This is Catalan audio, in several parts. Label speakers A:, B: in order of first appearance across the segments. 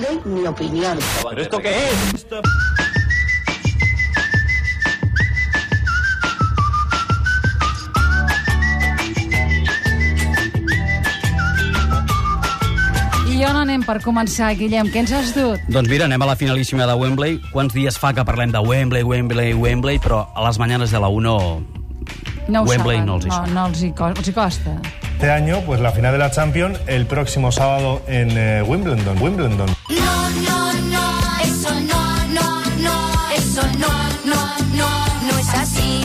A: doy mi opinión.
B: ¿Pero esto qué es?
C: I on anem per començar, Guillem? Què ens has dut?
D: Doncs mira, anem a la finalíssima de Wembley. Quants dies fa que parlem de Wembley, Wembley, Wembley, però a les mañanes de la 1
C: No ho
D: Wembley
C: saben.
D: no els hi
C: no,
D: sona.
C: no els hi, co- els hi costa.
E: Este año, pues la final de la Champions el próximo sábado en eh, Wimbledon. Wimbledon.
F: No, no, no, eso no, no, no, eso no, no, no, no es así.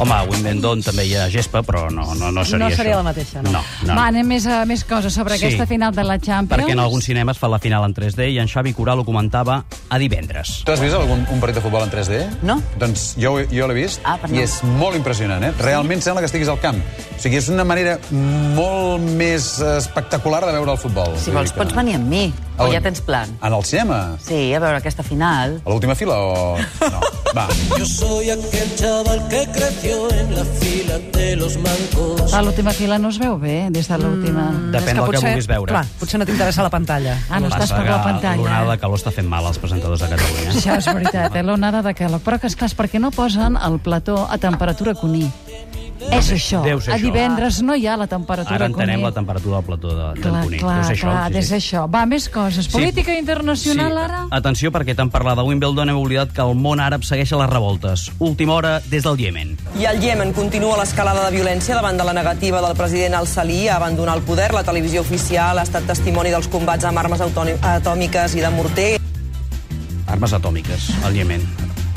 D: Home, a Wimbledon també hi ha gespa, però no, no, no seria
G: No seria
D: això.
G: la mateixa, no.
D: No, no.
C: Va, anem més, a més coses sobre
D: Sí.
C: aquesta final de la Champions.
D: perquè en alguns cinemes fa la final en 3D i en Xavi Coral ho comentava a divendres.
H: Tu has vist algun, un partit de futbol en 3D?
G: No.
H: Doncs jo, ho- jo l'he vist
G: Ah, perdó.
H: i és molt impressionant, eh? Realment sembla que estiguis al camp. O sigui, és una manera molt més espectacular de veure el futbol.
G: Si vols, pots venir amb mi.
H: A
G: O
H: on?
G: ja tens plan.
H: En el cinema?
G: Sí, a veure aquesta final.
H: A l'última fila o...? No, va.
I: Yo soy aquel chaval que creció en la fila de los mancos.
C: A l'última fila no es veu bé, des de l'última.
D: Depèn del que vulguis veure.
G: Clar, potser no t'interessa la pantalla.
C: Ah, no estàs
D: Passa
C: per la
D: que L'onada de
C: pantalla.
D: calor està fent mal als presentadors de Catalunya.
C: Això és veritat, eh? l'onada de calor. Però que, esclar, és perquè no posen el plató a temperatura cuní. És això.
D: deu ser
C: a
D: això.
C: divendres no hi ha la temperatura
D: Ara
C: cuní.
D: entenem la temperatura del plató de, del
C: Clar,
D: Cuní.
C: clar,
D: Deu ser Doncs això,
C: clar,
D: sí,
C: des
D: sí.
C: d'això. Va, més coses. Política internacional,
D: sí.
C: ara?
D: Atenció, perquè tant parlar de Wimbledon hem oblidat que el món àrab segueix a les revoltes. Última hora des del Iemen.
J: I al Iemen continua l'escalada de violència davant de la negativa del president al-Salih a abandonar el poder. La televisió oficial ha estat testimoni dels combats amb armes autòni- atòmiques i de morter.
D: Armes atòmiques al Iemen.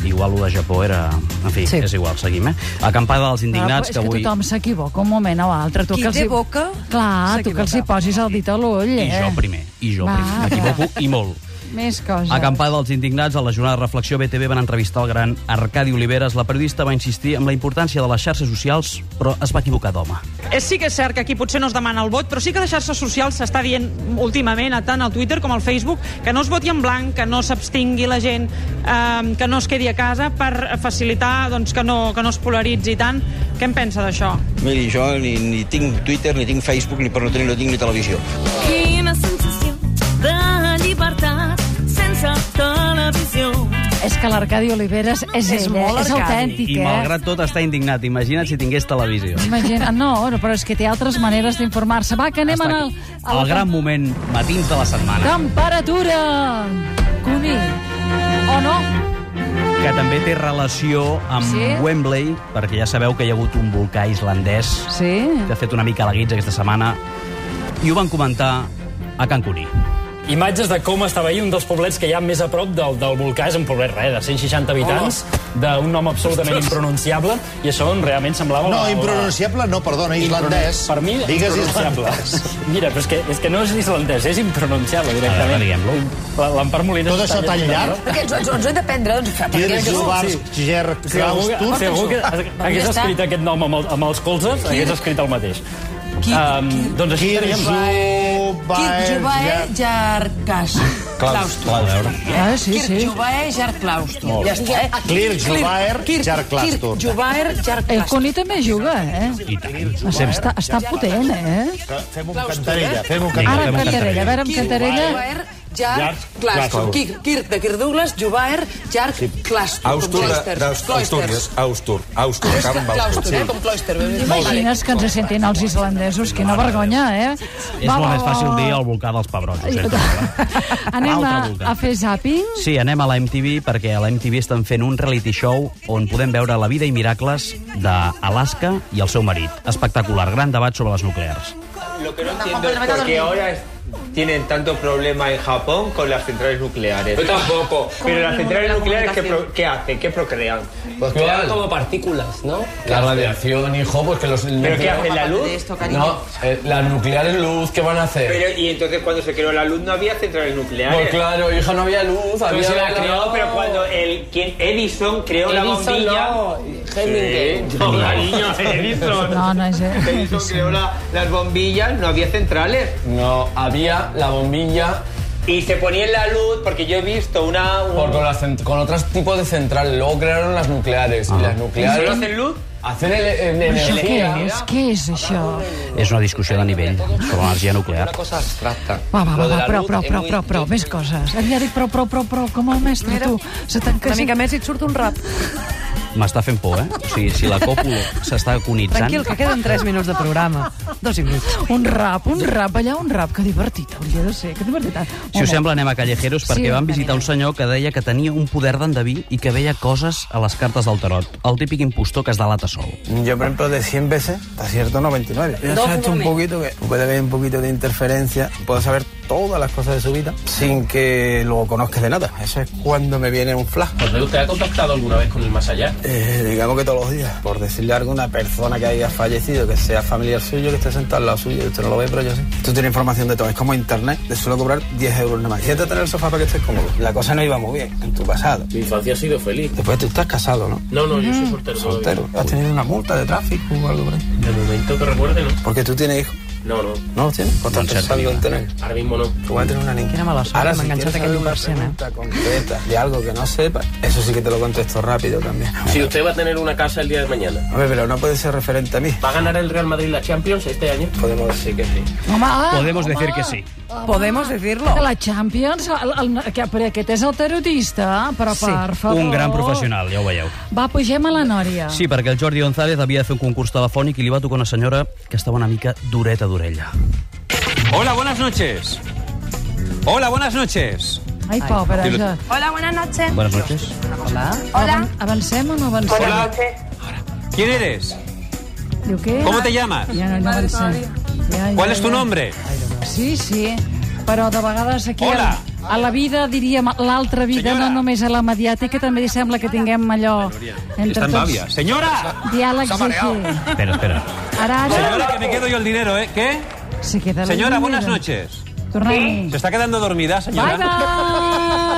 D: Igual ho de Japó era... En fi,
G: Sí.
D: sí. és igual, seguim, eh? Acampada dels
C: Però
D: indignats
C: Ah, és
D: que avui...
C: tothom s'equivoca un moment o altre. Tu
G: Qui
C: que els hi-
G: té boca,
C: Clar, tu que els hi
G: s'equivoca.
C: posis el dit a l'ull, eh?
D: I jo primer, i jo
C: Va,
D: primer.
C: va.
D: M'equivoco i molt.
C: Més coses.
D: Acampada dels indignats, a la jornada de reflexió BTV van entrevistar el gran Arcadi Oliveres. La periodista va insistir en la importància de les xarxes socials, però es va equivocar d'home.
J: Eh, Sí que és cert que aquí potser no es demana el vot, però sí que a les xarxes socials s'està dient últimament, a tant al Twitter com al Facebook, que no es voti en blanc, que no s'abstingui la gent, eh, que no es quedi a casa per facilitar doncs, que, no, que no es polaritzi tant. Què en pensa d'això?
I: Miri, jo ni, ni tinc Twitter, ni tinc Facebook, ni per no tenir, no tinc ni televisió.
F: Quina sensació de llibertat sense televisió.
C: És que l'Arcadi Oliveres és
G: És
C: ell, eh?
G: molt
C: és
G: Arcadi.
C: autèntic,
D: I
C: eh?
D: malgrat tot està indignat. Imagina't si tingués televisió.
C: Imagina, Ah, no, no, però és que té altres maneres d'informar-se. Va, que anem
D: Està
C: en el...
D: aquí. El gran moment matins de la setmana,
C: Temperatura! Cuní. O no?
D: que també té relació amb
C: Sí?
D: Wembley, perquè ja sabeu que hi ha hagut un volcà islandès
C: Sí.
D: que ha fet una mica la guitza aquesta setmana, i ho van comentar a Can Cuní.
B: Imatges de com estava ahir un dels poblets que hi ha més a prop del, del volcà, és un poblet res, de 160 habitants, d'un nom absolutament impronunciable, i això on realment
K: No,
B: semblava... la- la-
K: impronunciable no, perdona, islandès.
B: Per mi,
K: Digues
B: impronunciables.
K: islandès.
B: Mira, però és que, és que no és islandès, és impronunciable
D: A veure,
B: directament.
D: diguem-lo.
B: L'Empar Molina...
K: Tot això tan llarg.
G: Perquè ens, ens, ens ho hem de prendre, doncs,
K: Tienes Juvars, Ger, Klaus,
B: Segur
K: tu...
B: que, segur que hagués
G: està.
B: escrit aquest nom amb, el, amb els colzes, hagués escrit el mateix. Um, doncs així teníem...
K: Kirjubae...
G: Jarkas.
D: Clar, a veure.
C: Ah, sí, sí.
A: eh,
G: Jubae Jarklaustor. Ja està, eh?
K: Clear Jubaer, Jar Clastur.
G: Jubaer
C: El Cuní també juga, eh?
D: I tant.
C: Està, està potent, eh?
K: Fem un cantarella, fem un
C: Ara
D: Fem
C: amb
D: un
K: cantarella.
C: Cantarella, a veure, amb Cantarella...
G: Jubaer Jark Clastor. Kirk de Kirk Douglas, Jubaer Jark Clastor.
H: Austur, d'Astúries, Austur, Austur, acaben amb Austur.
G: eh? Com Cloister.
C: T'imagines que ens sentin els islandesos? Quina vergonya, eh?
D: És molt més fàcil dir el volcà dels pebrots. ho sento.
C: Anem a,
D: L'altre volcà.
C: a fer zàping?
D: Sí, anem a la MTV perquè a la MTV estan fent un reality show on podem veure la vida i miracles d'Alaska i el seu marit. Espectacular, gran debat sobre les nuclears.
I: Lo que no entiendo es por qué ahora tienen tanto problema en Japón con las centrales nucleares. Yo tampoco. Pero las centrales nucleares, ¿qué, hacen? ¿Qué procrean? Pues crean como partículas, ¿no? La radiación, hijo, pues que los... ¿Pero qué hacen? ¿La luz? no, las nucleares luz, ¿qué van a hacer? Pero, y entonces cuando se creó la luz no había centrales nucleares. Pues claro, hija, no había luz, había... se la creó, pero cuando el, quien, Edison creó la bombilla... No, cariño, Edison.
C: No, no és... Eh?
I: Edison creó la- las bombillas, no había centrales. No, había la bombilla. Y se ponía en la luz porque yo he visto
D: Ah,
I: una. Con, las cen- con otros tipos de centrales. Luego crearon las nucleares. Y las nucleares. hacen luz? Hacen el- el-
C: Això què
I: energía.
C: és? Què és això?
D: És una discussió de nivell sobre l'energia nuclear.
I: Cosa abstracta.
C: Va, va, va,
I: Lo de
C: va
I: la
C: prou,
I: luz
C: prou,
I: es
C: prou,
I: muy-
C: prou, prou, més coses. Havia dit prou, prou, prou, prou, com el mestre, tu. Se
A: Una
C: tanca...
A: mica més i et surt un rap.
D: M'està fent por, eh? O sigui, si la còpula s'està aconitzant...
A: Tranquil, que queden 3 minuts de programa. Dos i mig.
C: Un rap, un rap, allà un rap, que divertit hauria de ser, que divertit. Ah,
D: Si us sembla, anem a Callejeros, perquè
C: Sí,
D: sí, vam visitar un senyor que deia que tenia un poder d'endeví i que veia coses a les cartes del tarot. El típic impostor que es delata sol.
L: Yo, por ejemplo, de 100 veces, está cierto 99. Yo
D: Dos
L: sé esto un poquito que puede haber un poquito de interferencia. Puedo saber todas las cosas de su vida sin que lo conozcas de nada. Eso es cuando me viene un flash.
M: Pues, ¿Usted ha contactado alguna vez con el más allá?
L: Eh, digamos que todos los días. Por decirle algo a una persona que haya fallecido, que sea familiar suyo, que esté sentado al lado suyo, usted no lo ve, pero yo sí. Tú tienes información de todo. Es como internet. Te suelo cobrar 10 euros nada más. Siéntate en el sofá para que estés cómodo. La cosa no iba muy bien en tu pasado.
M: Mi infancia ha sido feliz.
L: Después tú estás casado, ¿no?
M: No, no, yo soy soltero.
L: Soltero. ¿Has tenido una multa de tráfico o algo por ahí?
M: De momento que recuerde, ¿no?
L: Porque tú tienes hijos.
M: No, no.
L: No los tienes. ¿Cuántos
M: Doncs
L: te
M: certa
L: salgo en tener?
M: Ahora mismo no.
L: Tú vas a tener una niña.
A: Quina mala sort,
L: Ahora,
A: que
L: si
A: m'ha enganxat aquest
L: quieres saber una
A: 1%, eh?
L: pregunta concreta de algo que no sepa, eso sí que te lo contesto rápido también.
M: Si usted va a tener una casa el día de mañana,
L: Hombre, pero no puede ser referente a mí.
M: ¿va a ganar el Real Madrid la Champions este año?
L: Podemos decir que sí.
D: Podemos decir que sí.
A: Podemos decirlo.
C: De la Champions, el, el, que, però aquest és el tarotista, però
D: Sí,
C: per favor...
D: un gran professional, ja ho veieu.
C: Va, pugem a la Nòria.
D: Sí, perquè el Jordi González havia de fer un concurs telefònic i li va tocar una senyora que estava una mica dureta d'orella.
N: Hola, buenas noches. Hola, buenas noches.
C: Ai, pobra,
N: Ai.
C: ja.
O: Hola, buenas noches.
D: Buenas noches.
C: Hola. Hola. Avancem o no avancem?
N: Hola. ¿Quién eres?
C: Diu, què?
N: ¿Cómo te llamas?
C: Ja no, no avancem. Ja, ja,
N: ¿Cuál es tu
C: ja.
N: nombre?
C: Sí, sí. Però de vegades aquí
N: Hola.
C: a, a la vida, diríem, l'altra vida, no només a la mediàtica, també sembla que tinguem allò... Entre
N: Están
C: tots,
N: babias. Señora.
C: diàlegs
N: S'ha mareado.
C: aquí.
D: Espera, espera.
C: Ara, ara...
N: Señora, que me quedo yo el dinero, ¿eh? ¿Qué?
C: Se queda la
N: Señora,
C: vida.
N: buenas noches.
C: Tornem.
N: ¿Se está quedando dormida,
C: Bye,
N: señora?
C: bye.